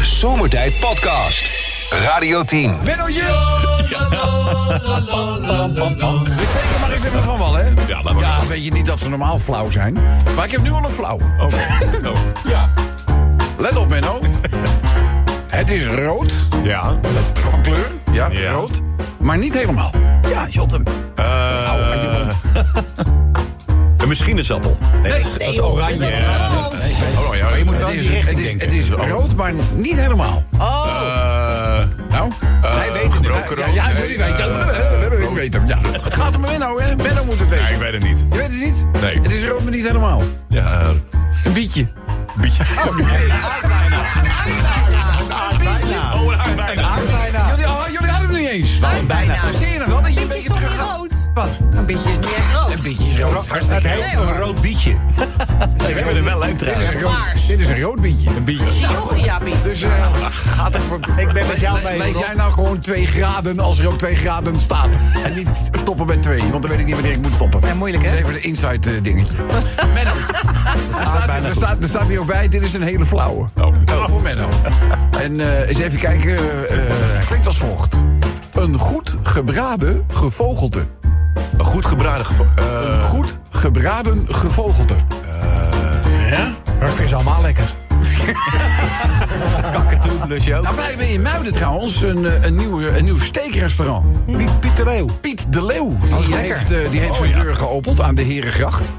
Zomertijd Podcast. Radio 10. Benno Jul! We steken maar eens even van wal, hè? Ja, laat maar. Ja, weet je niet dat ze normaal flauw zijn? Maar ik heb nu al een flauw. Oké. Oh. Ja. Let op, Benno. Het is rood. Ja. Van kleur. Ja, Ja. rood. Maar niet helemaal. Ja, Jotem. Eh. een machinesappel. Nee, dat is- dat is oranje. Oh, ja, je moet wel in die richting het is, het is Oh. rood, maar niet helemaal. Eh, Nou? Hij weet het gebroken Ja, rood. Eh, ja, jullie weten het. Ik weet hem, ja. Het gaat om Benno, hè? Benno moet het Ja, weten. ik weet het niet. Je weet het niet? Nee. Het is rood, maar niet helemaal. Ja, eh, Een bietje. een beetje. Oh, een aardbeien. Bijna. Jullie, oh, jullie hadden hem niet eens. Bijna. Zie je nog wel dat je een beetje toch terug... niet rood? Wat? Een beetje is niet echt rood. Een beetje is rood. Hartstikke heet een rood bietje. Ik vind het wel leuk trouwens. Dit is een rood- Dit is een rood bietje. Een beetje. Georgia biet. Dus eh, Gaat er voor... Ik ben met jou mee. lees Rob. jij nou gewoon 2 graden als er ook 2 graden staat. En niet stoppen bij 2, want dan weet ik niet wanneer ik moet stoppen. Ja, moeilijk, hè? Dat is even een inside eh, dingetje. Menno. Er staat, er, staat, er staat hier ook bij, dit is een hele flauwe. Oh. Wel Voor Menno. En eh, eens even kijken, eh, eh, het klinkt als volgt. Een goed gebraden gevogelte. Een goed gebraden gevo- eh, Een goed gebraden gevogelte. Rugby is allemaal lekker. Kakatoen, dus je ook. Nou, wij hebben in Muiden trouwens een, eh, een, nieuw, een nieuw steekrestaurant. Piet, Piet de Leeuw. Oh, Piet de Leeuw. Die lekker. heeft, eh, die heeft zijn deur geopend aan de Herengracht.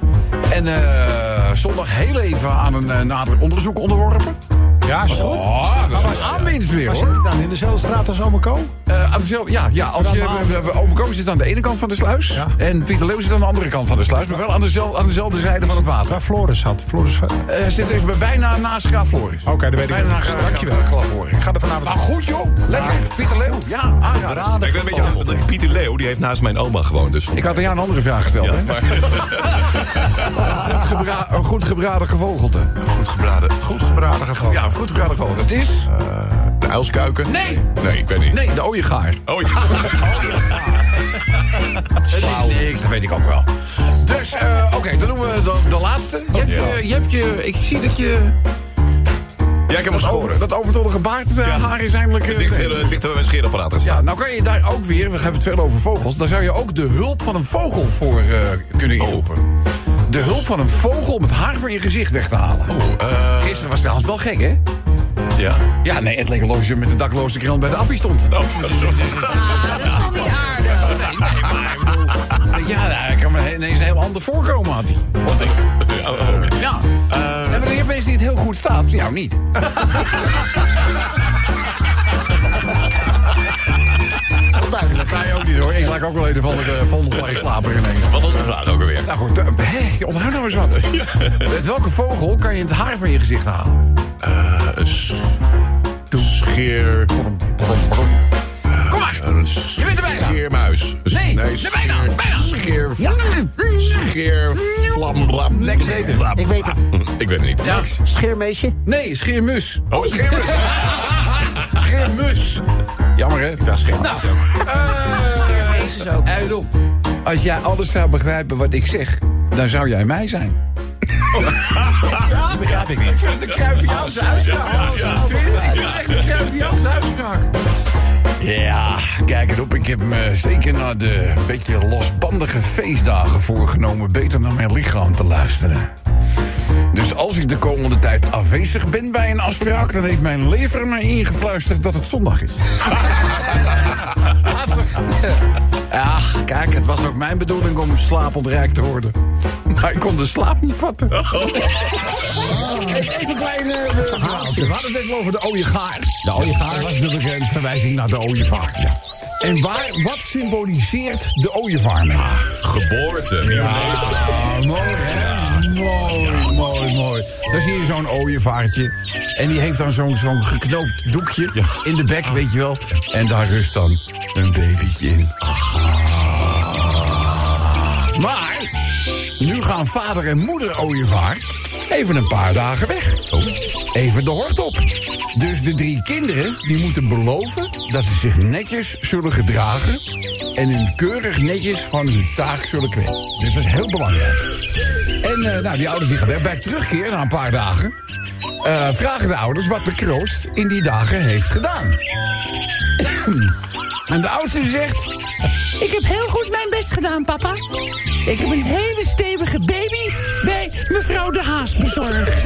En eh, zondag heel even aan een eh, nader onderzoek onderworpen. Ja, Ah, is goed. Oh, dat is een aanwinst weer Waar hoor. zit hij dan? In dezelfde straat als Omeco? Eh, aan dezelfde- ja, ja, als je, Allemaal. we- we- Oom Koos zit aan de ene kant van de sluis. Ja. En Piet de Leeuw zit aan de andere kant van de sluis. Maar wel aan, dezelfde, aan dezelfde zijde van het water. Waar Floris had. Floris... Eh, Hij zit even bij- bijna naast Graaf Floris. Oké, dat weet ik Bijna niet. naast Graaf- Dankjewel. Graaf Floris. Ik ga er vanavond... Maar Ah, goed joh, lekker. Piet de Leeuw. Ja, aanraden. Ik ben een beetje aangevonden. Pieter Leeuw die heeft naast mijn oma gewoond. Dus Ik had aan jou een andere vraag gesteld, hè? Goed gebra- een goed gebraden gevogelte. goed gebraden. Goed gebraden geval. Ja, een goed gebraden gevogelte. Het is... De uilskuiken? Nee. Nee, ik weet niet. Nee, de ooiegaar. Oh, ja. Het is niks, dat weet ik ook wel. Dus, eh, oké, dan doen we de, de laatste. Je hebt, ja. je, je hebt je... Ik zie dat je... Ja, ik heb hem Over, schoren. Oh, dat overtollige baard, eh, haar is eindelijk... eh, Dicht, het- heel- dicht bij mijn scheerapparaat gestaan. ja, nou kan je daar ook weer, we hebben het veel over vogels... daar zou je ook de hulp van een vogel voor eh, kunnen inroepen. De hulp van een vogel om het haar van je gezicht weg te halen. Eh, Gisteren was trouwens wel gek, hè? ja. Ja, nee, het leek alsof je met de dakloze krant bij de appie stond. Oh, dat is zo- Ah, dat is toch niet aardig. Ja, nou, hij kan me ineens een heel ander voorkomen had hij. Vond ik. Ja, oké. Ja. eh, en maar je hebt mensen die het heel goed staat. Nou, niet. Onduidelijk. Ga je ook niet hoor. Ik laat ook wel een eh, of andere vondelplay slapen ineens. Wat was de vraag ook alweer? Nou goed, eh, hé, je onthoud nou eens wat. Met welke vogel kan je het haar van je gezicht halen? Eh, een s- scheer... Eh, Kom maar. Een s- Je bent er bijna. Scheermuis. Een s- Nee, nee er bijna, scheer- bijna. Scheer... Ja. Scheer... Vlam, blam. Ah, hm, Lex weet het. Ik weet het. Ik weet het niet. Ja. Scheermeesje? Nee, scheermus. Oh, scheermus. scheermus. Jammer hè? Nou, eh, Ja, scheermuis. Jezus ook. Uit op. Als jij alles zou begrijpen wat ik zeg, dan zou jij mij zijn. Dat begrijp ik niet. Een kruiviaanse uitspraak. Ik vind het echt een kruiviaanse uitspraak. Ja, kijk het op. Ik heb me zeker na de beetje losbandige feestdagen voorgenomen... beter naar mijn lichaam te luisteren. Dus als ik de komende tijd afwezig ben bij een afspraak... dan heeft mijn lever mij ingefluisterd dat het zondag is. Ja, kijk, het was ook mijn bedoeling om slapend rijk te worden. Maar ik kon de slaap niet vatten. Oh. Even een klein eh, verhaaltje. We hadden het net over de ooiegaar. De ooiegaar? Dat was natuurlijk een verwijzing naar de ooievaar. Ja. En waar, wat symboliseert de ooievaar nou? Geboorte. Ah, mooi, hè? Mooi, mooi, mooi. Dan zie je zo'n ooievaartje. En die heeft dan zo'n zo'n geknoopt doekje in de bek, weet je wel. En daar rust dan een babytje in. Ah. Maar nu gaan vader en moeder ooievaar even een paar dagen weg. Oh. Even de hort op. Dus de drie kinderen die moeten beloven dat ze zich netjes zullen gedragen... en hun keurig netjes van hun taak zullen kweken. Dus dat is heel belangrijk. En eh, nou, die ouders die gaan weg. Bij terugkeer na een paar dagen... eh, Eh, vragen de ouders wat de kroost in die dagen heeft gedaan. en de oudste zegt... Ik heb heel goed mijn best gedaan, papa. Ik heb een hele stevige baby bij mevrouw de Haas bezorgd.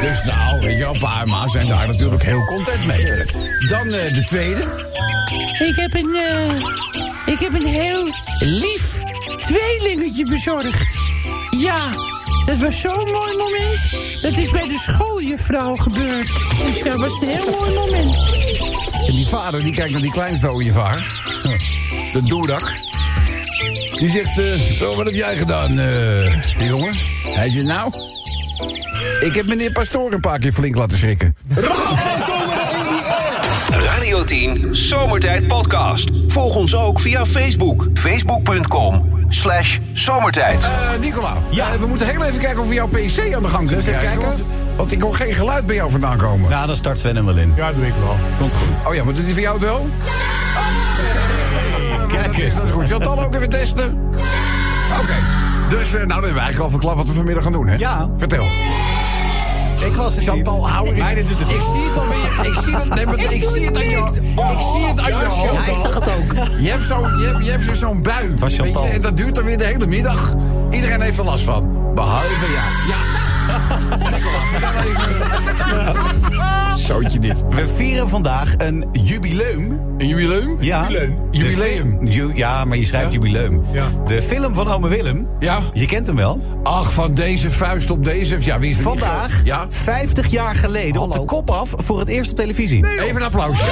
Dus nou, weet je wel, pa en ma zijn daar natuurlijk heel content mee. Dan eh, de tweede. Ik heb een, eh, ik heb een heel lief tweelingetje bezorgd. Ja, dat was zo'n mooi moment. Dat is bij de schooljuffrouw gebeurd. Dus dat was een heel mooi moment. En die vader, die kijkt naar die kleinste ooievaar. De doedak. Die zegt, eh, zo, wat heb jij gedaan, eh, jongen? Hij zegt, nou... Ik heb meneer Pastoor een paar keer flink laten schrikken. Radio 10 Zomertijd Podcast. Volg ons ook via Facebook. Facebook.com slash zomertijd. Eh, Nicola, ja. we moeten heel even kijken of we jouw PC aan de gang kunnen even krijgen. kijken. Want, want ik hoor geen geluid bij jou vandaan komen. Ja, Nou, dan start Sven hem wel in. Ja, doe ik wel. Komt goed. Oh ja, maar doet die van jou het wel? Kijk eens. Dat is goed. Zal het dan ook even testen? Oké. Dus, eh, nou, dan hebben we eigenlijk al verklapt wat we vanmiddag gaan doen, hè? Ja. Vertel. Ik was het Chantal, hou er Mij eens- doet het Ik zie het alweer. Ik zie het, nee, maar ik zie het aan je Ik zie het aan je hoofd. ik zag het ook. Je hebt zo'n je hebt, je hebt zo'n bui. was weet je, Chantal. en dat duurt dan weer de hele middag. Iedereen heeft er last van. Behalve ja. Ja. Zootje dit. We vieren vandaag een jubileum. Een jubileum? Ja. Jubileum. De Jubileum. fi- ju- ja, maar je schrijft jubileum. Ja. De film van Ome Willem. Ja. Je kent hem wel. Ach, van deze vuist op deze. Ja, wie is er niet Vandaag, ge- Ja. 50 jaar geleden, op de kop af voor het eerst op televisie. Even een applaus. 50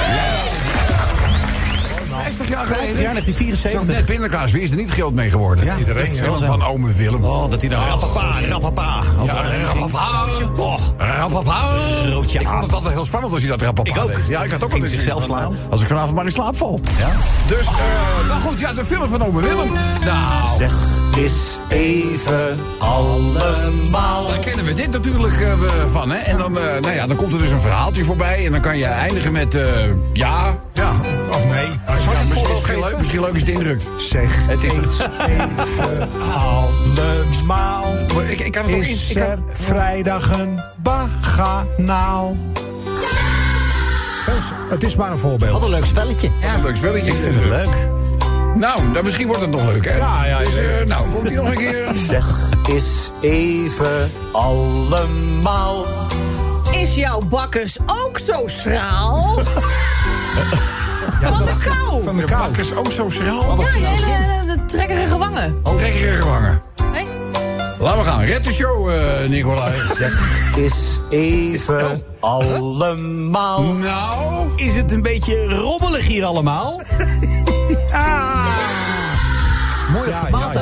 jaar 50 jaar geleden. Zo'n 1974. net pindakaas, wie is er niet geld mee geworden? Ja, de iedereen, film ja. van ome Willem. Ah, Oh, dat hij dan rapapa, rapapa. Ja, rapapa. Oh, Rapapa. Roodje Ik vond aan. het altijd heel spannend als hij dat rapapa Ik ook. deed. Ja, ik had ook Ging altijd zichzelf zoiets van, eh, slaan. Als ik vanavond maar in slaap val. Ja. Dus, eh nou goed, ja, de film van ome Willem. Nou, Zeg eens even allemaal. Daar kennen we dit natuurlijk eh, we- van, hè? En dan, eh, nou ja, dan komt er dus een verhaaltje voorbij. En dan kan je eindigen met, eh, ja... Ja, of nee. Zal Ja, ik misschien, voorbeeld misschien, leuk, geven? misschien leuk is het indrukt. Zeg Het is- eens even allemaal. Maar Ik, ik kan het ook in. Is ik kan- er vrijdag een baganaal? Dus, het is maar een voorbeeld. Wat een leuk spelletje. Ja, leuk spelletje. Ik vind het Leuk. Nou, nou, misschien wordt het nog leuk, hè? Ja, ja, Dus, ja. eh, nou, komt die nog een keer? Zeg eens even allemaal. Is jouw bakkers ook zo schraal? Van de kou. Van de kou. is ook zo schraal. Ja, hele trekkerige wangen. Trekkere gevangen. Hé? Laten we gaan. Red de show, eh Nicolai. Is even Oh. allemaal. nou, Is het een beetje rommelig hier allemaal? Mooi ja, ja, ja.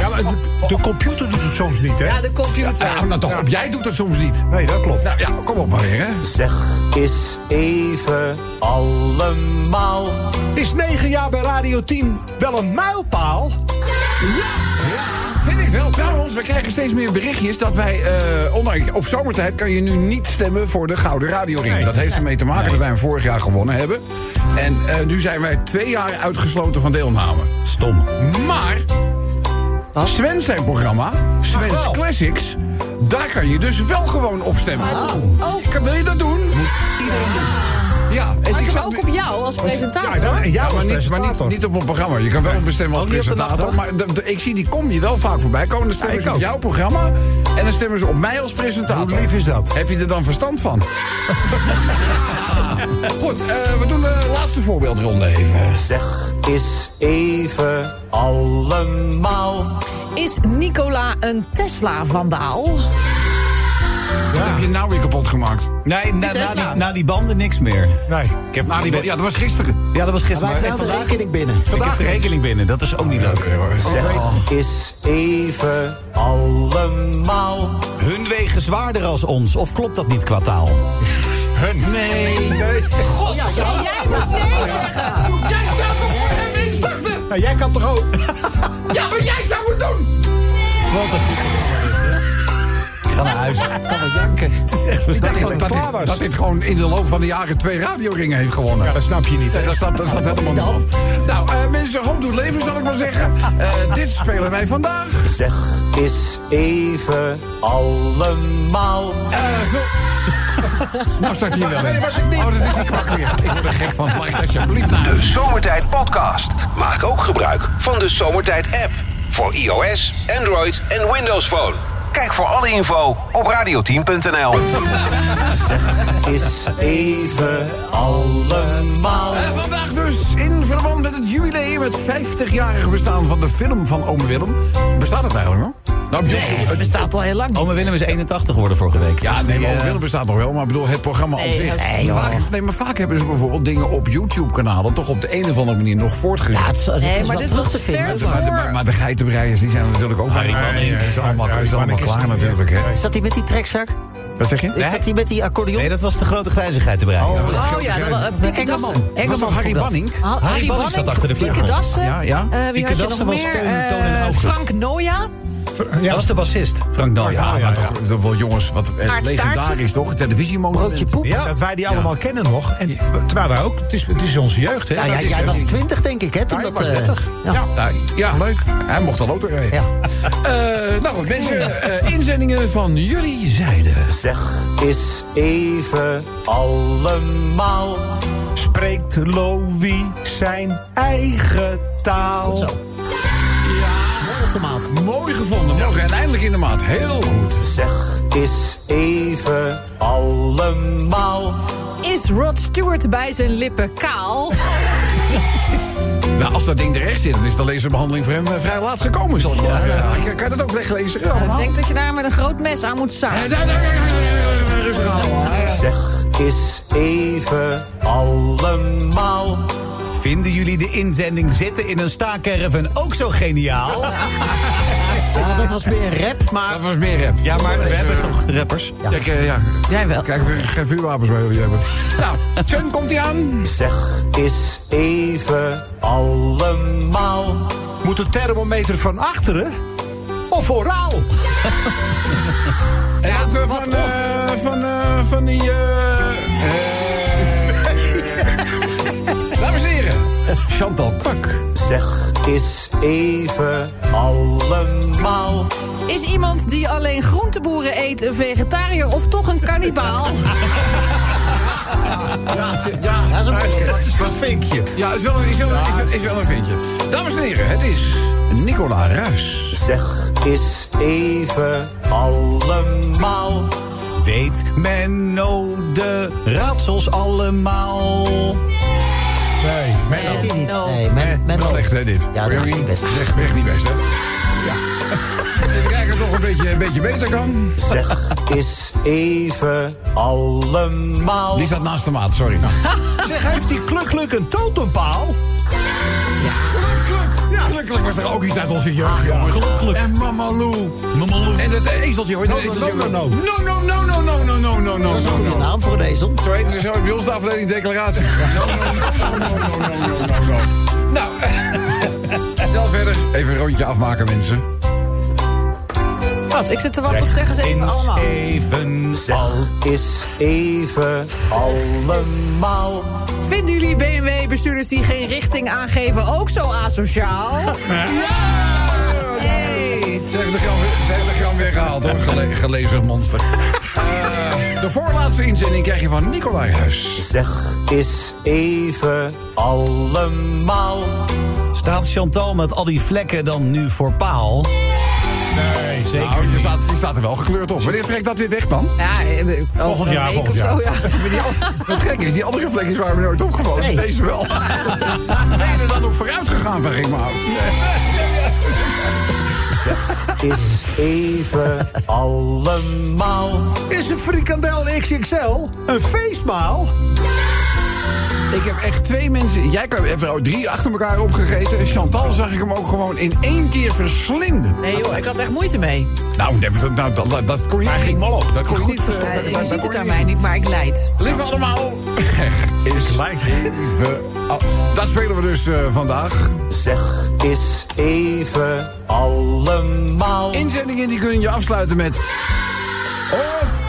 Ja, maar de, de computer doet het soms niet, hè? Ja, dus de computer. eh, hou nou toch op. Jij doet dat soms niet. Nee, dat klopt. Nou ja, kom op maar weer, hè? Zeg eens even allemaal. Is 9 jaar bij Radio 10 wel een mijlpaal? Vind ik wel. Trouwens, we krijgen steeds meer berichtjes dat wij... eh, ondanks, op zomertijd kan je nu niet stemmen voor de Gouden Radioring. Dat heeft ermee te maken dat wij hem vorig jaar gewonnen hebben. En eh, nu zijn wij twee jaar uitgesloten van deelname. Stom. Maar Sven zijn programma, Sven's Classics... daar kan je dus wel gewoon op stemmen. Oh, Kan- Wil je dat doen? Moet iedereen doen. Ja, en Maar ik Oh, ik heb zou ook op jou als presentator. Ja, ja, maar, niet, maar niet, niet op een programma. Je kan wel bestemmen als Ook niet op de presentator. Maar nachtwacht? de- de- ik zie die kom je wel vaak voorbij komen. Dan stemmen ze op jouw programma. En dan stemmen ze op mij als presentator. Hoe lief is dat? Heb je er dan verstand van? Goed, eh, we doen de laatste voorbeeldronde even. Zeg eens even allemaal. Is Nicola een Tesla-vandaal? Dat heb je nou weer kapot gemaakt. Nee, na, na, Tesla. die, na die banden niks meer. Nee. Ik heb, Nou, die, ben- ja, dat was gisteren. ja, dat was gisteren. Wij maar zijn even de vandaag- rekening binnen. Ik heb de rekening binnen, dat is ook niet leuk. Zeg eens even allemaal. Hun wegen zwaarder als ons, of klopt dat niet qua taal? Nee. God, Oh, ja, Oh, jij moet nee zeggen. Jij staat toch voor hem in starten? Nou, jij kan toch ook? Ja, maar jij zou het doen! Wat een ga naar huis. Ik kan wel janken. Het is echt Ik dacht verschrikkelijk. dat, dit, dat dit gewoon in de loop van de jaren twee radioringen heeft gewonnen. Ja, dat snap je niet. Nee, hè? dat staat, dat staat helemaal niet op. Nou, eh, mensen, home doet leven, zal ik maar zeggen. Eh, dit spelen wij vandaag. Zeg eens even Ah, allemaal. Eh, zo- nou start hier wel in. Oh, dat is die kwak weer. Ik word er gek van. Mike, alsjeblieft nou. De Zomertijd Podcast. Maak ook gebruik van de Zomertijd app. Voor iOS, Android en Windows Phone. Kijk voor alle info op radioteam.nl. Is even allemaal. Eh, vandaag dus, in verband met het jubileum, het 50-jarige bestaan van de film van Ome Willem. Bestaat het eigenlijk nog? Nou, nee, Het bestaat al heel lang. Ome Willem is 81 geworden vorige week. Ja, eh, nee, eh, maar Ome Willem bestaat nog wel, maar ik bedoel, het programma op Nee, zich. dat- nee, joh. vaak, nee, maar vaak hebben ze bijvoorbeeld dingen op YouTube-kanalen toch op de een of andere manier nog voortgezet. Nee, Dus maar dit was te Maar ver de- maar, de- maar, voor. maar de geitenbreiers die zijn natuurlijk ook bijna- Manning. Nee, nee, is allemaal, Harry is allemaal Manning is klaar er niet, natuurlijk. Hè. Is dat die met die trekzak? Wat zeg je? Is dat die met die accordeon? Nee, dat was de grote grijzigheid erbij. Oh ja, dat was eh, Pieke Dassen. was dat Harry Banning? Ha- Ah, Harry Banning zat achter de Banning, Pieke vleugel. Dassen. Ja, ja. Eh, wie Pieke had je nog Dassen was meer? Teun, Toon en Eh, August. Frank Noya. Dat was de bassist, Frank Noya. Ja, maar toch, toch wel jongens, wat eh, Aard legendarisch Staartjes. toch? Het televisiemoment. Broodje poep. Ja. Dat wij die allemaal kennen nog. En terwijl wij ook, het is, het is onze jeugd, hè? Ja, Dat jij, is jij het. was 20 denk ik, hè? Toen Ja, ik dat, eh, was 30. ja. Ja, ja, ja, leuk. Hij mocht al auto rijden. Ja. Eh, nou goed, mensen, eh, inzendingen van jullie zijde. Zeg eens even allemaal. Spreekt Louis zijn eigen taal? Mooi op de maat. Mooi gevonden, morgen en eindelijk in de maat. Heel goed. Zeg eens even allemaal. Is Rod Stewart bij zijn lippen kaal? Nou, als dat ding er echt zit, dan is de laserbehandeling voor hem eh, vrij laat gekomen. Zal ik wel zeggen. Kan- Kan je dat ook weglezen? Ja, Ik allemaal. denk dat je daar met een groot mes aan moet Eh, staan. daar- daar- daar- daar- daar- Rustig aan allemaal. Zeg eens even allemaal. Vinden jullie de inzending zitten in een staakerven ook zo geniaal? Ja, dat was meer rap, maar... Dat was meer rap. Ja, maar we hebben toch rappers? Kijk, eh, ja. Jij wel. Kijk, we- geen vuurwapens bij jullie hebben. Nou, Sun komt hij aan. Zeg eens even allemaal. Moet de thermometer van achteren of oraal? En ook eh, van, eh, van, eh, van die... eh, eh, Dames en heren, Chantal Kwak. Zeg eens even allemaal. Is iemand die alleen groenteboeren eet een vegetariër of toch een kannibaal? Ja, ze- ja, dat is een wat vinkje. Ja, is wel een, is wel een, is wel- is wel een vinkje. Dames en heren, het is Nicola Ruis. Zeg eens even allemaal. Weet Menno de raadsels allemaal? Nee, Nee, die niet. Nee, men, men Slecht, hè, dit? Ja, dat is Really? niet best. Echt, echt niet best, hè? Ja. Even kijken of het nog een beetje, een beetje beter kan. Zeg eens even allemaal. Die staat naast de maat, sorry. Zeg, heeft die klukluk een totempaal? Gelukkig. Ja. Gelukkig was er ook iets uit onze jeugd, jongens. gelukkig. En Mama Lou. En dat eh, ezeltje, hoor. dat no, ezeltje. no, no, no. No, no, no, no, no, no, no, no, een no, goede no. naam voor een ezel. Zo heet het zo bij ons de afdeling declaratie. No, no, no, no, no, no, no, no, no. Nou, snel verder. Even een rondje afmaken, mensen. Wat? Ik zit te wachten op zeggen ze even allemaal. Even al. Is even allemaal. Vinden jullie BMW-bestuurders die geen richting aangeven ook zo asociaal? Hey. 70 gram, 70 gram weggehaald hoor, Gele, gelezen monster. Eh, de voorlaatste inzending krijg je van Nicolai Huis. Zeg eens even allemaal. Staat Chantal met al die vlekken dan nu voor paal? Nee, zeker Nou, die staat, die staat er wel gekleurd op. Wanneer trekt dat weer weg dan? Ja, eh, eh, over Volgend een jaar, week volgend of zo, ja. Maar die al- het gekke is, die andere vlekjes waren we nooit opgewoond. Deze wel. Ben je er dan op vooruit gegaan, vraag ik me af. Is even allemaal. Is een frikandel XXL een feestmaal? Ik heb echt twee mensen... Jij kan- hebt er al drie achter elkaar opgegeten. Chantal zag ik hem ook gewoon in één keer verslinden. Nee joh, ik had echt moeite mee. Nou, dat, nou, dat, dat, dat kon je... Hij ging mal op. Dat kon je niet Ja, verstoppen. je eh, Dat- dat ziet kon je het aan niet- mij niet, maar ik lijd. Lieve allemaal, Gech is even... al- Dat spelen we dus eh, vandaag. Zeg eens even allemaal. Inzendingen die kun je afsluiten met... Of...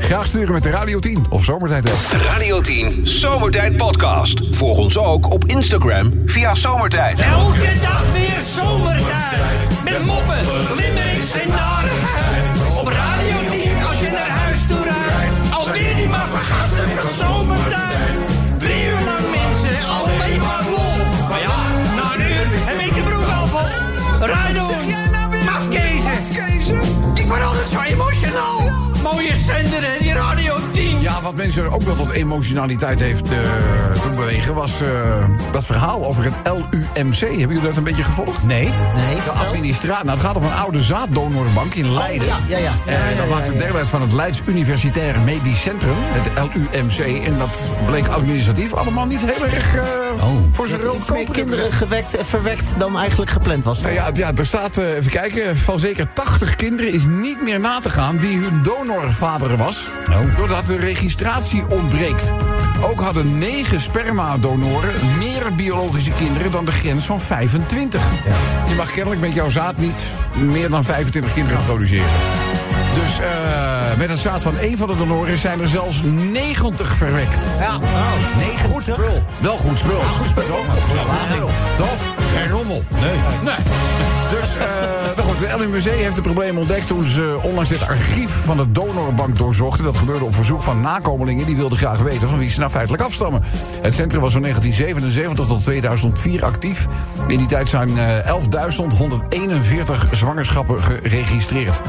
Graag sturen met de Radio 10 of Zomertijd app. Radio 10 Zomertijd Podcast. Volg ons ook op Instagram via Zomertijd. Elke dag weer zomertijd. Met moppen, limmerings en narigheid. Op Radio 10 als je naar huis toe rijdt. Alweer die maar vergasten van zomertijd. Drie uur lang mensen, alleen maar lol. Maar ja, na een uur heb ik de broek al vol. Rijdon, mafkezen. Ik word altijd zo emotional. Mooie zender en die Radio 10. Ja, wat mensen ook wel tot emotionaliteit heeft eh, doen bewegen... was eh, dat verhaal over het LUMC. Hebben jullie dat een beetje gevolgd? Nee. Nee, De vertel. Oh, administratie. Nou, het gaat om een oude zaaddonorbank in Leiden. ja, ja, ja. Eh, dat maakte deel uit van het Leids Universitair Medisch Centrum, het LUMC. En dat bleek administratief allemaal niet heel erg eh, voor zijn Dat er rol iets meer kinderen gewekt, eh, verwekt dan eigenlijk gepland was. nou ja, ja, er staat, eh, even kijken, van zeker 80 kinderen is niet meer na te gaan wie hun donorvader was. Doordat de registratie ontbreekt. Ook hadden 9 spermadonoren meer biologische kinderen dan de grens van 25. Je mag kennelijk met jouw zaad niet meer dan 25 kinderen produceren. Dus eh, met het zaad van één van de donoren zijn er zelfs 90 verwekt. Ja, goed spul. Wel goed spul. goed spul. Toch? Toch? Geen rommel. Nee. Nee. Dus, eh nou goed, de LUMC heeft het probleem ontdekt toen ze onlangs het archief van de donorbank doorzochten. Dat gebeurde op verzoek van nakomelingen. Die wilden graag weten van wie ze nou feitelijk afstammen. Het centrum was van 1977 tot 2004 actief. In die tijd zijn eh, 11.141 zwangerschappen geregistreerd.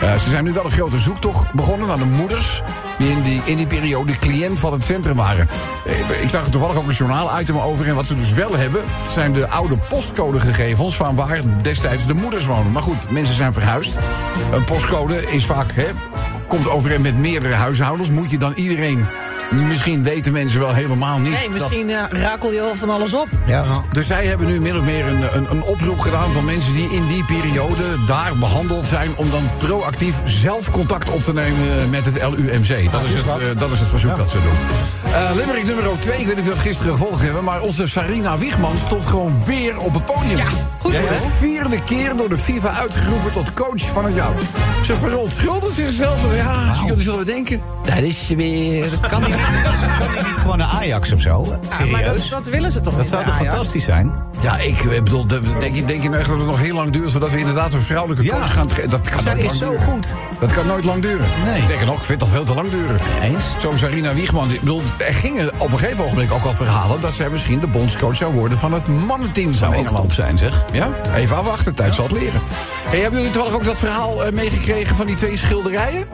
Eh, ze zijn nu wel een grote zoektocht begonnen naar de moeders... die in die, in die periode cliënt van het centrum waren. Eh, Ik zag er toevallig ook een journaal-item over. En wat ze dus wel hebben, zijn de oude postcodegegevens... van waar destijds de moeders wonen. Maar goed, mensen zijn verhuisd. Een postcode is vaak, hè, komt overeen met meerdere huishoudens. Moet je dan iedereen... Misschien weten mensen wel helemaal niet... Nee, dat- misschien eh, rakel je wel van alles op. dus zij hebben nu min of meer een, een, een oproep gedaan van mensen die in die periode daar behandeld zijn. om dan proactief zelf contact op te nemen met het LUMC. Dat is het, eh, dat is het verzoek dat ze doen. Eh Limerick nummer 2, ik weet niet of je dat gisteren gevolgd hebben. maar onze Sarina Wiegman stond gewoon weer op het podium. Ja, goed, Voor hè? de vierde keer door de FIFA uitgeroepen tot coach van het jaar. Ze verontschuldigt zichzelf. van, Ja, jullie zullen denken. Dat is weer... Kan die niet, kan die niet gewoon naar Ajax of zo? Ja, maar dat, Serieus? dat willen ze toch Dat niet? zou bij toch Ajax? fantastisch zijn? Ja, ik eh, bedoel, de- denk je, denk je nou echt dat het nog heel lang duurt voordat we inderdaad een vrouwelijke Ja. coach gaan tre- Dat kan Zij nooit is lang zo duren. goed. Dat kan nooit lang duren. Nee. Sterker nog, ik vind dat veel te lang duren. Eens? Zo'n Sarina Wiegman, ik bedoel, er gingen op een gegeven ogenblik ook al verhalen dat zij misschien de bondscoach zou worden van het mannenteam van Zou ook Engeland. top zijn, zeg. Ja, even afwachten, tijd zal het leren. Hey, hebben jullie toevallig ook dat verhaal eh, meegekregen van die twee schilderijen?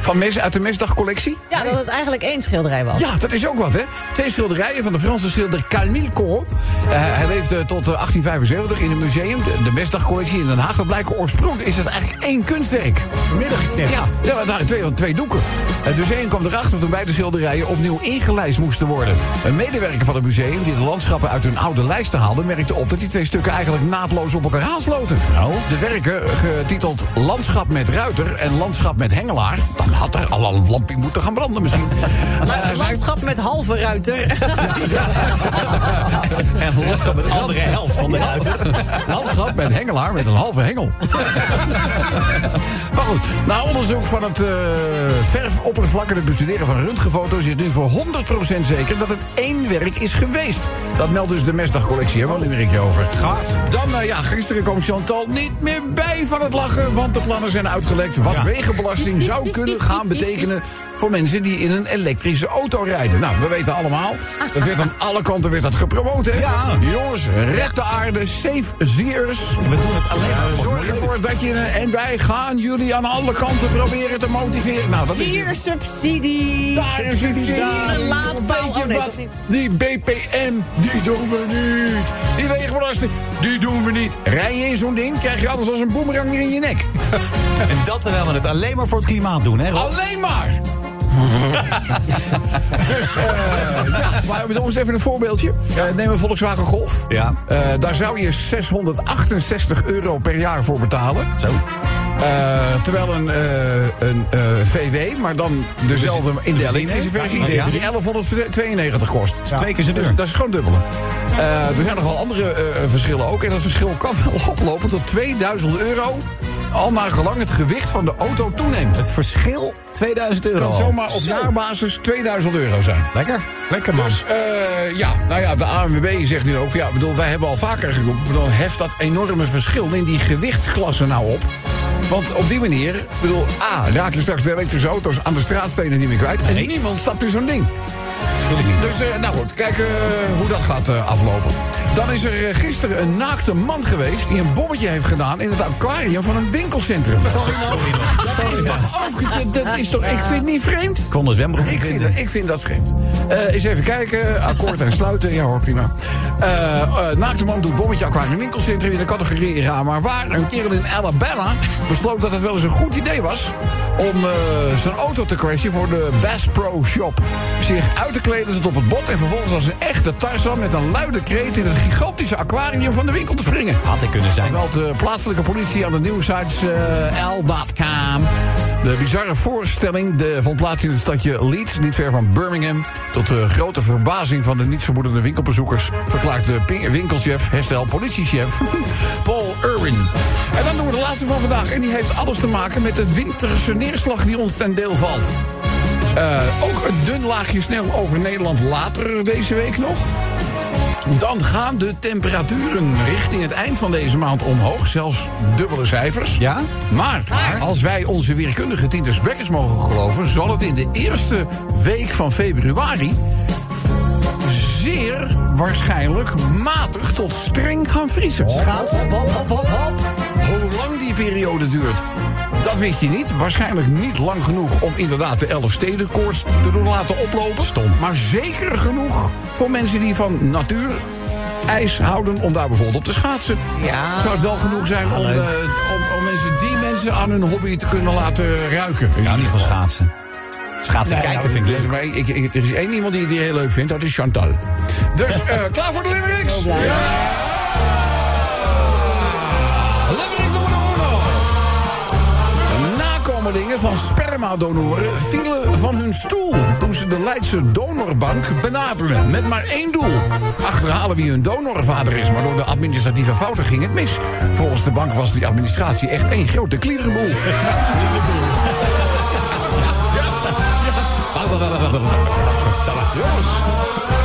Van mes, uit de mesdagcollectie? Ja, dat het eigenlijk één schilderij was. Ja, dat is ook wat, hè? Twee schilderijen van de Franse schilder Camille Corot. Eh, hij leefde tot eh, 1875 in een museum, de, de Mesdagcollectie in Den Haag. Dat blijkt oorspronkelijk is het eigenlijk één kunstwerk. Middagknip. Ja, ja, maar het waren twee, want twee doeken. Het museum kwam erachter toen beide schilderijen opnieuw ingelijst moesten worden. Een medewerker van het museum, die de landschappen uit hun oude lijsten haalde, merkte op dat die twee stukken eigenlijk naadloos op elkaar aansloten. Nou? De werken, getiteld Landschap met Ruiter en Landschap met Hengelaar, dan had er al een lampje moeten gaan branden misschien. Maar Eh, een zijn- landschap met halve ruiter. En wat met de andere helft van de ruiten? Landschap met hengelaar met een halve hengel. maar goed, na onderzoek van het eh verfoppervlak en het bestuderen van röntgenfoto's... is nu voor 100% zeker dat het één werk is geweest. Dat meldt dus de Mesdagcollectie, hè, wel een werkje over. Gaaf. Dan, eh, ja, gisteren kwam Chantal niet meer bij van het lachen... want de plannen zijn uitgelekt wat wegenbelasting zou kunnen gaan betekenen... voor mensen die in een elektrische auto rijden. Nou, we weten allemaal, dat werd aan alle kanten werd dat gepromoot, hè? Ja. Jongens, red de aarde, save zeers. We doen het alleen maar Eh, voor Zorg het milieu. ervoor dat je... eh, En wij gaan jullie aan alle kanten proberen te motiveren. Nou, dat is... Hier subsidie. Daar is het idee. Een laadpaal. Weet Oh je nee, wat? toch niet. Die BPM, die doen we niet. Die wegenbelasting, die doen we niet. Rij je in zo'n ding, krijg je alles als een boemerang weer in je nek. En dat terwijl we het alleen maar voor het klimaat doen, hè Rob? Alleen maar. Dus, eh, ja, maar we doen eens even een voorbeeldje. Eh, neem een Volkswagen Golf. Ja. Eh, daar zou je 668 euro per jaar voor betalen. Zo. Eh, terwijl een, eh, een eh, VW, maar dan dezelfde in de benzine? elektrische versie, Ja. die 1192 kost. is twee keer zo Dus duur. dat is gewoon dubbele. Eh, er zijn nog wel andere eh, eh, verschillen ook. En dat verschil kan wel oplopen tot 2000 euro al naar gelang het gewicht van de auto toeneemt. Het verschil 2000 euro. kan zomaar op Zo. jaarbasis 2000 euro zijn. Lekker. Lekker man. Dus eh, ja, nou ja, de ANWB zegt nu ook, ja, ik bedoel, wij hebben al vaker geroepen, ik bedoel, heft dat enorme verschil in die gewichtsklassen nou op. Want op die manier, ik bedoel, A, raak je straks de elektrische auto's aan de straatstenen niet meer kwijt. En niemand stapt in zo'n ding. Dus eh, nou goed, kijken eh, hoe dat gaat eh, aflopen. Dan is er eh, gisteren een naakte man geweest die een bommetje heeft gedaan in het aquarium van een winkelcentrum. Sorry, Sorry nog. ook, dat is toch, ik vind het niet vreemd. Ik kon de zwembroek niet Ik vind, vinden. dat- ik vind dat vreemd. Eh, eens even kijken. Akkoord en sluiten. Ja hoor, prima. Eh eh naakte man doet bommetje aquarium winkelcentrum in de categorie raar maar waar. Een kerel in Alabama besloot dat het wel eens een goed idee was... om eh, zijn auto te crashen voor de Bass Pro Shop. Zich uit te kleden tot op het bot... en vervolgens als een echte Tarzan met een luide kreet... in het gigantische aquarium van de winkel te springen. Had ik kunnen zijn. Meld de plaatselijke politie aan de nieuwsites eh L.com. De bizarre voorstelling de, vond plaats in het stadje Leeds, niet ver van Birmingham. Tot de grote verbazing van de nietsvermoedende winkelbezoekers... verklaart de ping- winkelchef, herstel politiechef, Paul Irwin. En dan doen we de laatste van vandaag. En die heeft alles te maken met de winterse neerslag die ons ten deel valt. Eh, ook een dun laagje snel over Nederland later deze week nog. Dan gaan de temperaturen richting het eind van deze maand omhoog. Zelfs dubbele cijfers. Ja? Maar als wij onze weerkundige Tintus Bekkers mogen geloven... zal het in de eerste week van februari... zeer waarschijnlijk matig tot streng gaan vriezen. Schaatsen. Hop, hop, hop, hop. Hoe lang die periode duurt, dat wist hij niet. Waarschijnlijk niet lang genoeg om inderdaad de Elfstedenkoorts te doen laten oplopen. Stom. Maar zeker genoeg voor mensen die van natuur ijs houden... om daar bijvoorbeeld op te schaatsen. Ja. Zou het wel genoeg zijn om, leuk. eh, om, om mensen, die mensen aan hun hobby te kunnen laten ruiken? Ik hou niet van schaatsen. Schaatsen Nou ja, kijken vind ik dus leuk. maar ik- ik- ik- Er is één iemand die die heel leuk vindt, dat is Chantal. Dus eh, klaar voor de limericks? Ja! Limerick nummer uno. De Nakomelingen van spermadonoren vielen van hun stoel toen ze de Leidse donorbank benaderden. Met maar één doel: achterhalen wie hun donorvader is. Maar door de administratieve fouten ging het mis. Volgens de bank was die administratie echt één grote klierenboel. Jongens,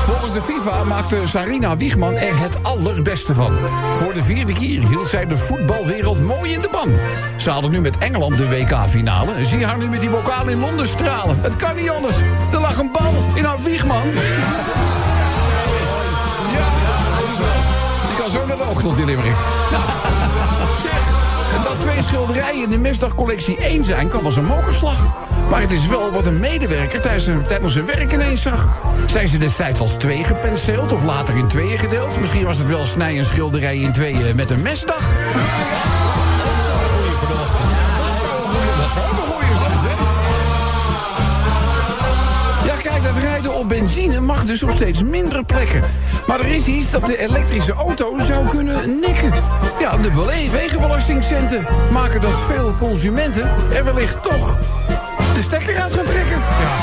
volgens de FIFA maakte Sarina Wiegman er het allerbeste van. Voor de vierde keer hield zij de voetbalwereld mooi in de ban. Ze hadden nu met Engeland de WK-finale. Zie haar nu met die bokaal in Londen stralen. Het kan niet anders. Er lag een bal in haar Wiegman. Ja, dat is wel. Die kan zo naar de ochtend in Limerick. Zeg, dat twee schilderijen in de misdagcollectie 1 zijn, kan als een mokerslag. Maar het is wel wat een medewerker tijdens zijn, tijdens zijn werk ineens zag. Zijn ze destijds als twee gepenseeld of later in tweeën gedeeld? Misschien was het wel snij en schilderij in tweeën met een mesdag. Dat zou ook een goeie zijn, hè? Ja, kijk, dat rijden op benzine mag dus op steeds minder plekken. Maar er is iets dat de elektrische auto zou kunnen nikken. Ja, de bele- wegenbelastingcenten maken dat veel consumenten er wellicht toch de stekker uit gaan trekken. Ja.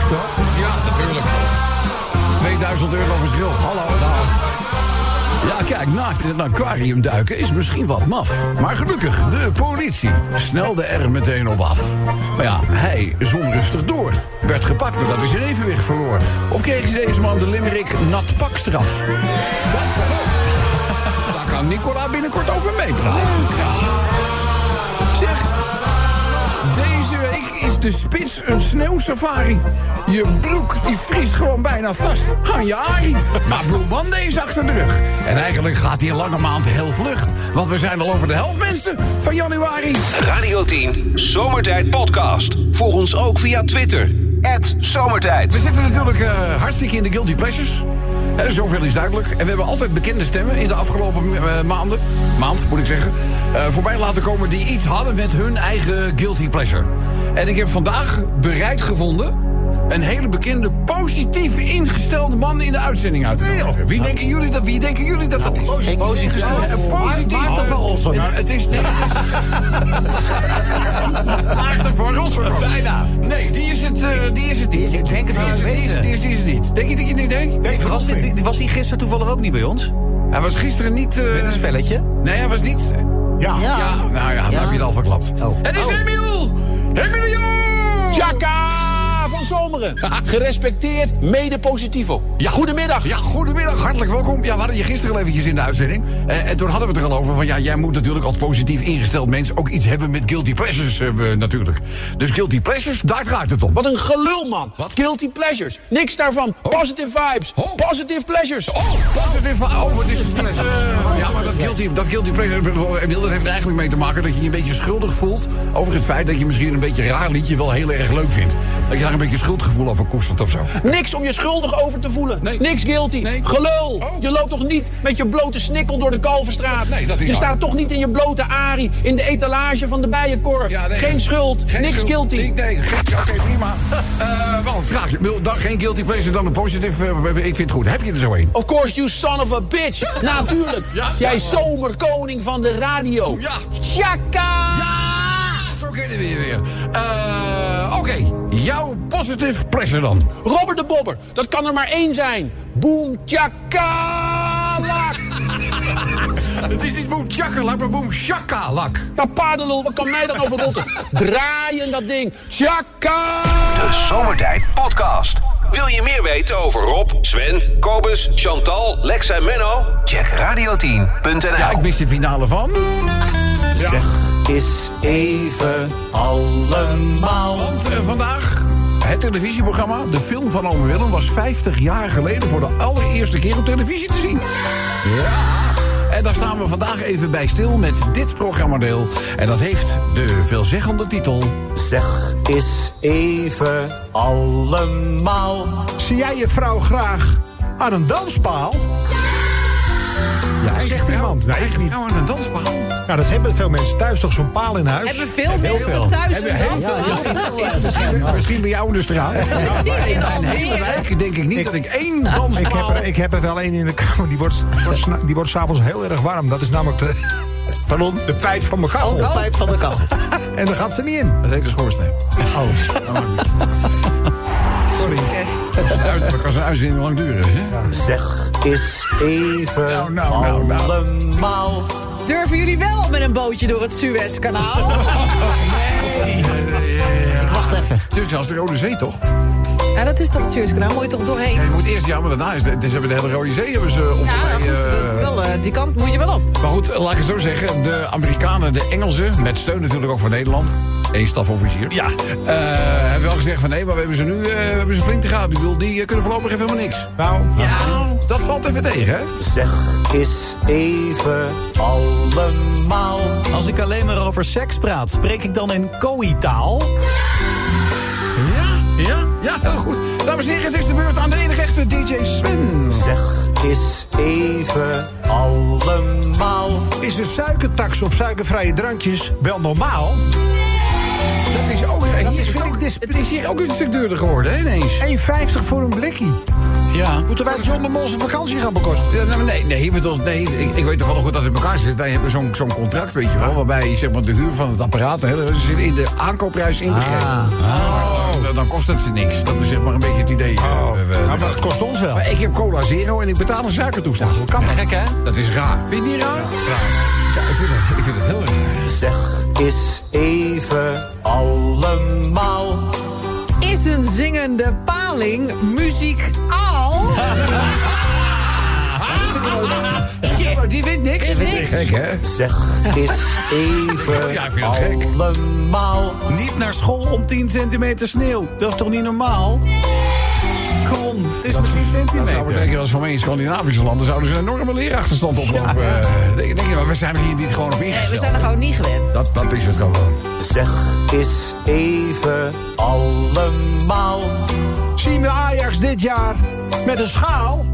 Echt hoor? Ja, natuurlijk. 2000 euro verschil. Hallo, dag. Ja, kijk, naakt in een aquarium duiken is misschien wat maf. Maar gelukkig, de politie snelde er meteen op af. Maar ja, hij zon rustig door. Werd gepakt nadat hij zijn evenwicht verloor. Of kreeg deze man de limerick nat pakstraf? Dat kan ook. Daar kan Nicola binnenkort over meepraten. Zeg, deze week is de spits een sneeuwsafari. Je broek die vriest gewoon bijna vast aan je arie. Maar Blue Monday is achter de rug. En eigenlijk gaat die lange maand heel vlug. Want we zijn al over de helft mensen van januari. Radio 10 Zomertijd Podcast. Volg ons ook via Twitter. We Zomertijd. zitten natuurlijk eh, hartstikke in de Guilty Pleasures. Eh, zoveel is duidelijk. En we hebben altijd bekende stemmen in de afgelopen eh, maanden. Maand, moet ik zeggen. eh, voorbij laten komen die iets hadden met hun eigen Guilty Pleasure. En ik heb vandaag bereid gevonden. Een hele bekende, positief ingestelde man in de uitzending uit te nodigen. Wie denken jullie dat, wie denken jullie dat, dat is? Nou, Ik- Ja, eh, een positief. Maarten van Rossum. Ja, Het is niet. Maarten van Rossum. Bijna. Nee, die is het, eh, die is het niet. Ik denk het Die wel is te die is- weten. Die is, die is het niet. Denk je dat je het niet denkt? Dave, was, dit, was hij gisteren toevallig ook niet bij ons? Hij was gisteren niet... eh, Met een spelletje? Nee, hij was niet... Ja. ja. nou ja, dan heb je het al verklapt. Het is Oh. Emiel! Emiel! Jaka van Zomeren. Gerespecteerd, mede positivo. Ja. Goedemiddag. Ja, goedemiddag. Hartelijk welkom. Ja, we hadden je gisteren al eventjes in de uitzending. Eh, en toen hadden we het er al over van... ja, jij moet natuurlijk als positief ingesteld mens... ook iets hebben met guilty pleasures eh, we- natuurlijk. Dus guilty pleasures, daar draait het om. Wat een gelul, man. Guilty pleasures. Niks daarvan. Positive vibes. Positive pleasures. Oh, positive vibes. Oh, het is niet... eh, ja, maar dat guilty, dat guilty pleasure... Emiel, dat heeft er eigenlijk mee te maken dat je je een beetje schuldig voelt... over het feit dat je misschien een beetje raar liedje wel heel erg leuk vindt. Dat je daar een beetje schuldgevoel over koestert of zo. Niks om je schuldig over te voelen. Niks guilty. Gelul. Oh. Je loopt toch niet met je blote snikkel door de Kalverstraat? Nee, dat is je waar. staat toch niet in je blote arie in de etalage van de bijenkorf? nee. Geen schuld. Geen niks schuld. guilty. Nee, nee, ge- ja, oké, prima. Eh wel, een vraagje. Wil Dan geen guilty pleasure, dan een positief. eh, ik vind het goed. Heb je er zo een? Of course, you son of a bitch. Natuurlijk. Ja, Jij ja, man. zomerkoning van de radio. Ja. Tjaka! Ja, zo kennen we je weer. Eh, Oké, jouw positive pleasure dan. Robert de Bobber, dat kan er maar één zijn. Boom tjakalak. het is niet boem tjakkerlak, maar boem sjakalak. Ja, Nou, paardenlul, wat kan mij dan over rotten? Draaien dat ding. Tjaka! De Zomertijd Podcast. Wil je meer weten over Rob, Sven, Kobus, Chantal, Lex en Menno? Check radio10.nl. Ja, ik mis de finale van. Zeg is even allemaal. Want eh, vandaag het televisieprogramma, de film van Ome Willem... was 50 jaar geleden voor de allereerste keer op televisie te zien. Ja. En daar staan we vandaag even bij stil met dit programmadeel. En dat heeft de veelzeggende titel... Zeg is even allemaal. Zie jij je vrouw graag aan een danspaal? Ja, Zegt iemand. Nee, ik niet. Nou, een danspaal. Nou, dat hebben veel mensen thuis toch zo'n paal in huis? Hebben veel mensen thuis een Hebben- dansen? Misschien- Misschien bij jou in de straat. Niet in Hele Almere. wijk denk ik niet dat ik één danspaal... Ik heb, er, ik heb er wel één in de kamer. Die wordt, wordt, sna- die wordt s'avonds heel erg warm. Dat is namelijk de, pardon, de pijp van mijn Oh, kachel. De pijp van de kachel. En daar gaat ze niet in. Dat heet een schoorsteen. Oh. Sorry. Dat kan zijn uitzending lang duren. Hè? Zeg is even Nou, nou, nou, nou. allemaal. Durven jullie wel met een bootje door het Suezkanaal? Wacht even. Het is zelfs de Rode Zee, toch? Ja, dat is toch het Suezkanaal? Moet je toch doorheen? Ja, je moet eerst, ja, maar daarna is de, dus hebben de hele Rode Zee hebben ze op Ja, nou goed, dat is wel, eh, die kant moet je wel op. Maar goed, laat ik het zo zeggen. De Amerikanen, de Engelsen, met steun natuurlijk ook van Nederland. Eén stafofficier. Ja. hebben wel gezegd van nee, maar we hebben ze nu eh, we hebben ze flink te gaan. Ik bedoel, die eh, kunnen voorlopig even helemaal niks. Nou, Ja. Dat valt even tegen, hè? Zeg is even allemaal. Als ik alleen maar over seks praat, spreek ik dan in kooitaal? Ja, ja, ja, heel goed. Dames en heren, het is de beurt aan de enige echte DJ Sven. Zeg is even allemaal. is een suikertax op suikervrije drankjes wel normaal? Dat is ook... hier is, is vind het, ook ik, dis- het is hier ook een stuk duurder geworden, hè, ineens. 1,50 voor een blikkie. Ja. Moeten wij John de Mol zijn vakantie gaan bekosten? Ja, nou, nee, nee, met ons, nee ik, ik weet toch wel goed dat het in elkaar zit. Wij hebben zo'n zo'n contract, weet je wel, waarbij zeg maar, de huur van het apparaat hè, dat zit in de aankoopprijs inbegrepen. Maar Dan, dan kost het ze niks. Dat is zeg maar een beetje het idee. eh, we- we- Nou, maar dat kost ons wel. maar ik heb cola zero en ik betaal een suikertoeslag. Hoe kan dat? Gek, hè? Dat is raar. Vind je het niet raar? Ja, ik vind het, ik vind het heel erg raar. Zeg is even allemaal. Is een zingende paling muzikaal? Maar Die wint niks. Die wint niks. Gek, hè? Zeg is even Ja, ik vind het gek. allemaal. Niet naar school om 10 centimeter sneeuw. Dat is toch niet normaal? Kom, het is maar 10 Dat zou centimeter. betekenen als van mij in Scandinavische landen zouden ze een enorme leerachterstand oplopen. Eh, denk, denk je, maar we zijn hier niet gewoon op Nee, we ingesteld. zijn er gewoon niet gewend. Dat, dat is het gewoon. Zeg is even allemaal. Zien we Ajax dit jaar met een schaal?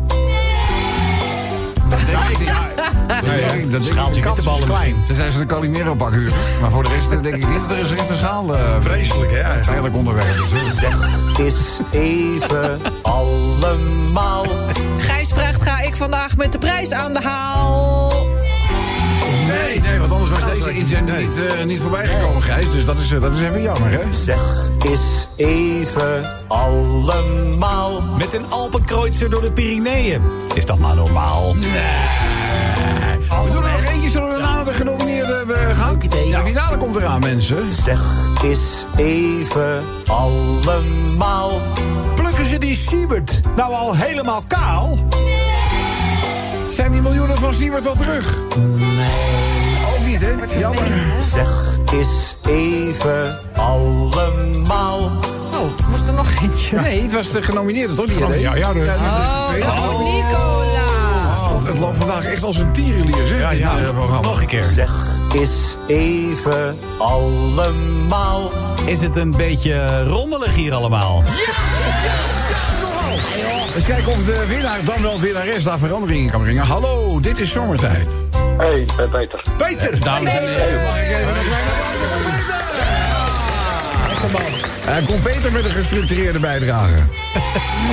Nee, dat schaaltje de kans is klein. Tenzij ze een Calimero pak huren. Maar voor de rest eh, denk ik niet dat er eens echt een schaal... eh, Vreselijk, hè? eigenlijk. Eigenlijk onderwerp is. hè. Zeg is even allemaal. Gijs vraagt, ga ik vandaag met de prijs aan de haal? Nee, nee, want anders Oh, was deze inzender niet, eh, niet voorbij gekomen, Gijs. Dus dat is, eh, dat is even jammer, hè? Zeg is even allemaal. Met een Alpenkreuzer door de Pyreneeën. Is dat maar normaal? We doen er nog eentje, zullen we daarna de genomineerde eh, De finale komt eraan, mensen. Zeg eens even allemaal. Plukken ze die Siebert nou al helemaal kaal? Zijn die miljoenen van Siebert al terug? Nee. Ook niet, hè? Jammer. Zeg eens even allemaal. Oh, moest er nog eentje? Nee, het was de genomineerde, toch? Die Ja, ja, ja, de- Ah. Oh, dat Oh, Nicola. Het loopt vandaag echt als een tierenlier, zeg. dit, eh, programma. Nog een keer. Zeg eens even allemaal. Is het een beetje rommelig hier allemaal? Eens kijken of de winnaar dan wel winnares daar verandering in kan brengen. Hallo, dit is zomertijd. Hey, eh, Peter. Peter! Dames en heren, mag ik even een kleine applaus voor Peter? Hij komt beter met een gestructureerde bijdrage.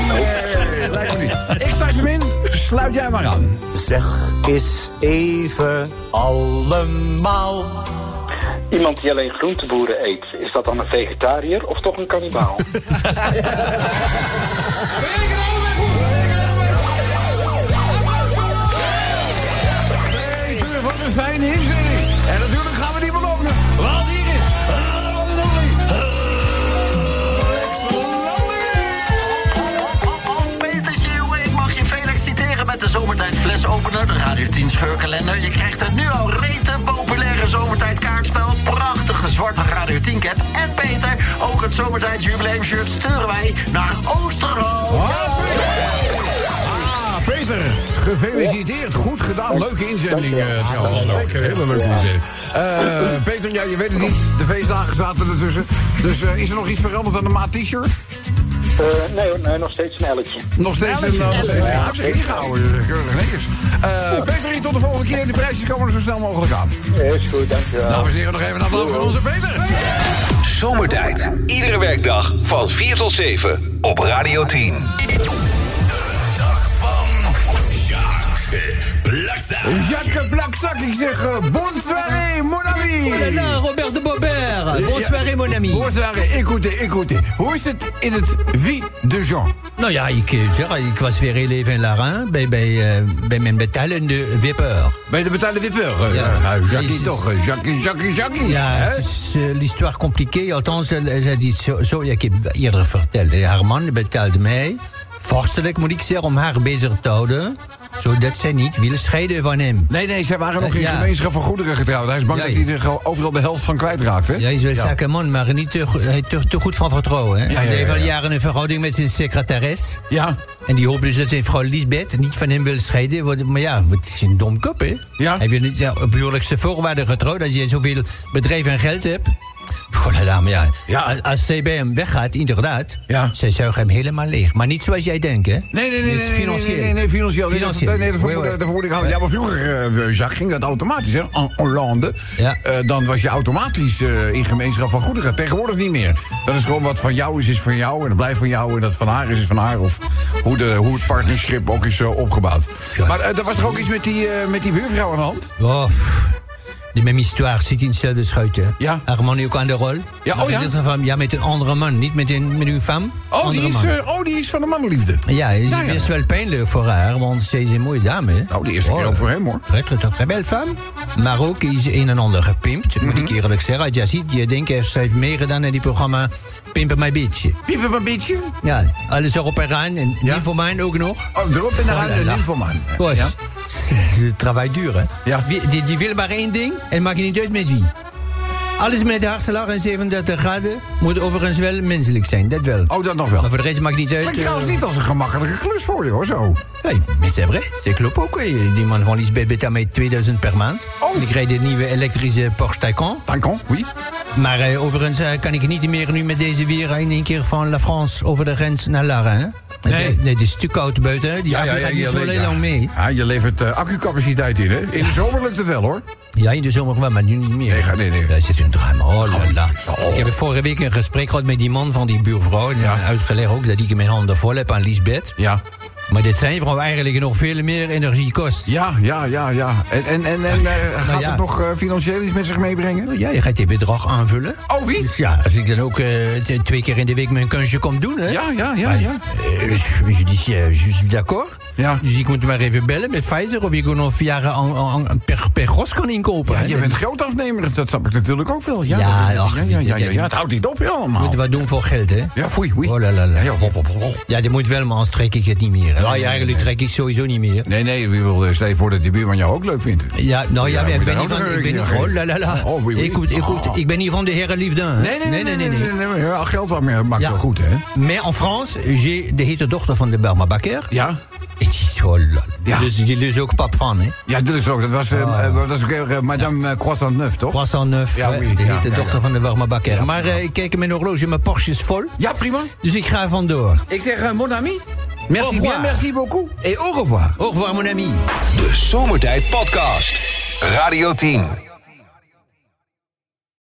Nee, lijkt me niet. Ik start hem in, sluit jij maar aan. Zeg eens even allemaal. Iemand die alleen groenteboeren eet, is dat dan een vegetariër of toch een kannibaal? Peter, wat een fijne inzending. En natuurlijk gaan we die belonen, want hier is... Petertje, jongen, ik mag je feliciteren met de zomertijd flesopener, de Radio 10 scheurkalender. Je krijgt het nu al rete populaire zomertijd kaartspel, prachtige zwarte Radio 10 cap. En Peter, ook het zomertijd jubileum shirt sturen wij naar Oosterhout. Ah, Peter, gefeliciteerd. Goed gedaan. Leuke inzending eh, trouwens. Ook een Hele leuke inzending. Eh, Peter, ja, je weet het niet. De feestdagen zaten ertussen. Dus eh, is er nog iets veranderd aan de maat t-shirt? Eh, nee, hoor, nee, nog steeds een elletje. Nog steeds een... eh, nog steeds een- Hij heeft zich ingehouden. eh, Keurig netjes. Eh, Peter, tot de volgende keer. De prijsjes komen er zo snel mogelijk aan. Is goed, dankjewel. Dames en heren, nog even een applaus voor onze Peter. Zomertijd. Iedere werkdag van 4 tot 7 op Radio 10. Jacques Plakzak, ik zeg eh, bonsoiré, mon ami. Oulala, Robert de Bobert. Bonsoiré, mon ami. Bonsoiré, écoutez, écoutez. Hoe is het in het Wie de Jean? Nou ja, ik, eh, zeg, ik was weer heel even in Larin bij, bij, eh, bij mijn betalende wipper. Bij de betalen wipper? eh, eh, Jackie toch, eh, Jackie, Jackie, Jackie, Ja, hè? het is eh, l'histoire compliquée. Althans, eh, zij die zo, zo, ja, ik heb eerder verteld. eh, Haar man betaalde mij, vorstelijk moet ik zeggen, om haar bezig te houden. Zodat zij niet wil scheiden van hem. Nee, nee, zij waren nog Eh, in ja. gemeenschap van goederen getrouwd. Hij is bang Ja, dat ja. hij er gewoon overal de helft van kwijtraakt, hè? Ja, hij is wel zakke man, maar niet te, go- hij is te, te goed van vertrouwen. Hè? Ja, hij ja, ja, heeft al ja. jaren een verhouding met zijn secretaris. Ja. En die hoopt dus dat zijn vrouw Lisbeth niet van hem wil scheiden. want- Maar ja, het is een dom kop, hè? Hij wil niet ja, op huwelijkse voorwaarden getrouwd. Als je zoveel bedrijf en geld hebt. Godverdamme, ja. ja. Als zij bij hem weggaat, inderdaad. Ja. Zij zuigen hem helemaal leeg. Maar niet zoals jij denkt, hè? Nee, nee, nee, Dus nee, nee, nee, financieel. nee, nee, financieel. Nee, dat- Financieel. Nee, nee, dat Hoi, vermoed- hoi. dat vermoed ik al. Ja, maar vroeger, eh, Jacques, ging dat automatisch, hè? En Hollande. Eh, dan was je automatisch eh, in gemeenschap van goederen. Tegenwoordig niet meer. Dat is gewoon wat van jou is, is van jou. En dat blijft van jou. En dat van haar is, is van haar. Of hoe, de, hoe het partnerschap ook is eh, opgebouwd. Maar eh, er was toch ook iets met die, eh, met die buurvrouw aan de hand? Oh, pff. die même histoire zit in hetzelfde schuitje. Ja. Haar man is ook aan de rol. Ja, Maar oh in ja? dit geval, ja, met een andere man, niet met, een, met uw femme. Oh die, Andere is, man. eh, oh, die is van de mannenliefde. Ja, het is Ja, ja. best wel pijnlijk voor haar, want ze is een mooie dame. hè. Nou, de eerste keer ook voor hem, hoor. Très, très, très, très belle femme. Maar ook is een en ander gepimpt, moet Mhm. ik eerlijk zeggen. Als je ziet, je denkt, ze heeft meegedaan in die programma Pimpen My Bitch. Piepen een beetje. Ja, alles erop en aan. En ja? voor mij ook nog. Oh, erop en eraan en niet voor mij. Boys, het travail duur, hè? Wie- die, die wil maar één ding en maakt niet uit met wie. Alles met hartslag en 37 graden moet overigens wel menselijk zijn, dat wel. Oh, dat nog wel. Maar voor de rest maakt niet uit. Klinkt trouwens niet als een gemakkelijke klus voor je, hoor, zo. Nee, maar c'est vrai. C'est klopt ook. hè. Die man van Lisbeth betaalt mij 2000 per maand. Oh. En ik rijd de nieuwe elektrische Porsche Taycan. Taycan, oui. Maar eh, overigens eh, kan ik niet meer nu met deze weer in één keer van La France over de grens naar Lara. Hè? Nee. nee. Het is te koud buiten. hè. Die ja, gaat niet zo le- heel ja. lang mee. Ja, je levert eh, accucapaciteit in, hè? In de zomer lukt het wel, hoor. Ja, in de zomer wel, maar nu niet meer. Nee, ga- nee, nee. Daar zit een drama. Oh, la, la. Ik heb vorige week een gesprek gehad met die man van die buurvrouw. En uitgelegd ook dat ik mijn handen vol heb aan Lisbeth. Ja. Maar dit zijn gewoon eigenlijk nog veel meer energie kost. Ja, ja, ja, ja. En, en, en, en eh, gaat het nog eh, financieel iets met zich meebrengen? Ja, je gaat dit bedrag aanvullen. Oh, wie? Dus ja, als ik dan ook eh, t- twee keer in de week mijn kunstje kom doen, hè? Ja, ja, ja, Maar, ja. eh, je- je dit, eh, je suis d'accord. Ja. Dus ik moet maar even bellen met Pfizer of ik ook nog jaren aan- aan- aan- per, per gos kan inkopen. Ja, hè. je bent grootafnemer, dat snap ik natuurlijk ook wel. Ja, Ja, dat- ach, ja, ja, dit- ja, ja, dit- ja, het houdt niet op, ja, We allemaal. moeten wat doen voor geld, hè? Ja, foei, foei. Oh, la, la, la. Ja, hop, hop, hop, hop. Ja, dat moet wel, maar anders trek ik het niet meer. Ah, hè. Nou, ja, eigenlijk trek ik sowieso niet meer. Nee, nee, wie wil, eh, stel je voor dat die buurman jou ook leuk vindt. Ja, nou ja, Ja, ik moet je ben daar niet ook nog van... Ik een ben niet, keer oh, la, la, geven. la. Oh, oui, oui. Ik, moet- ik, moet- Ah. ik ben niet van de heren liefde. hè. Nee, nee, nee, nee, nee, nee, nee, nee, nee. Geld wat meer maakt wel goed, hè? Mais en France, j'ai de hete dochter van de Belma Bakker. Ja. Ik zie zo lol. Dus die is ook pap van, hè? Ja, dat is ook. Dat was, eh, Ah. eh, dat was ook eh, Madame eh, Croissant Neuf, toch? Croissant Neuf, Ja, hè, oui, de ja, hete ja, dochter ja. van de Belma Bakker. maar eh, ik kijk in mijn horloge, mijn Porsche is vol. Ja, prima. Dus ik ga vandoor. Ik zeg, eh, mon ami, Au merci revoir. bien, merci beaucoup. Et au revoir. Au revoir, mon ami. De Zomertijd Podcast. Radio 10.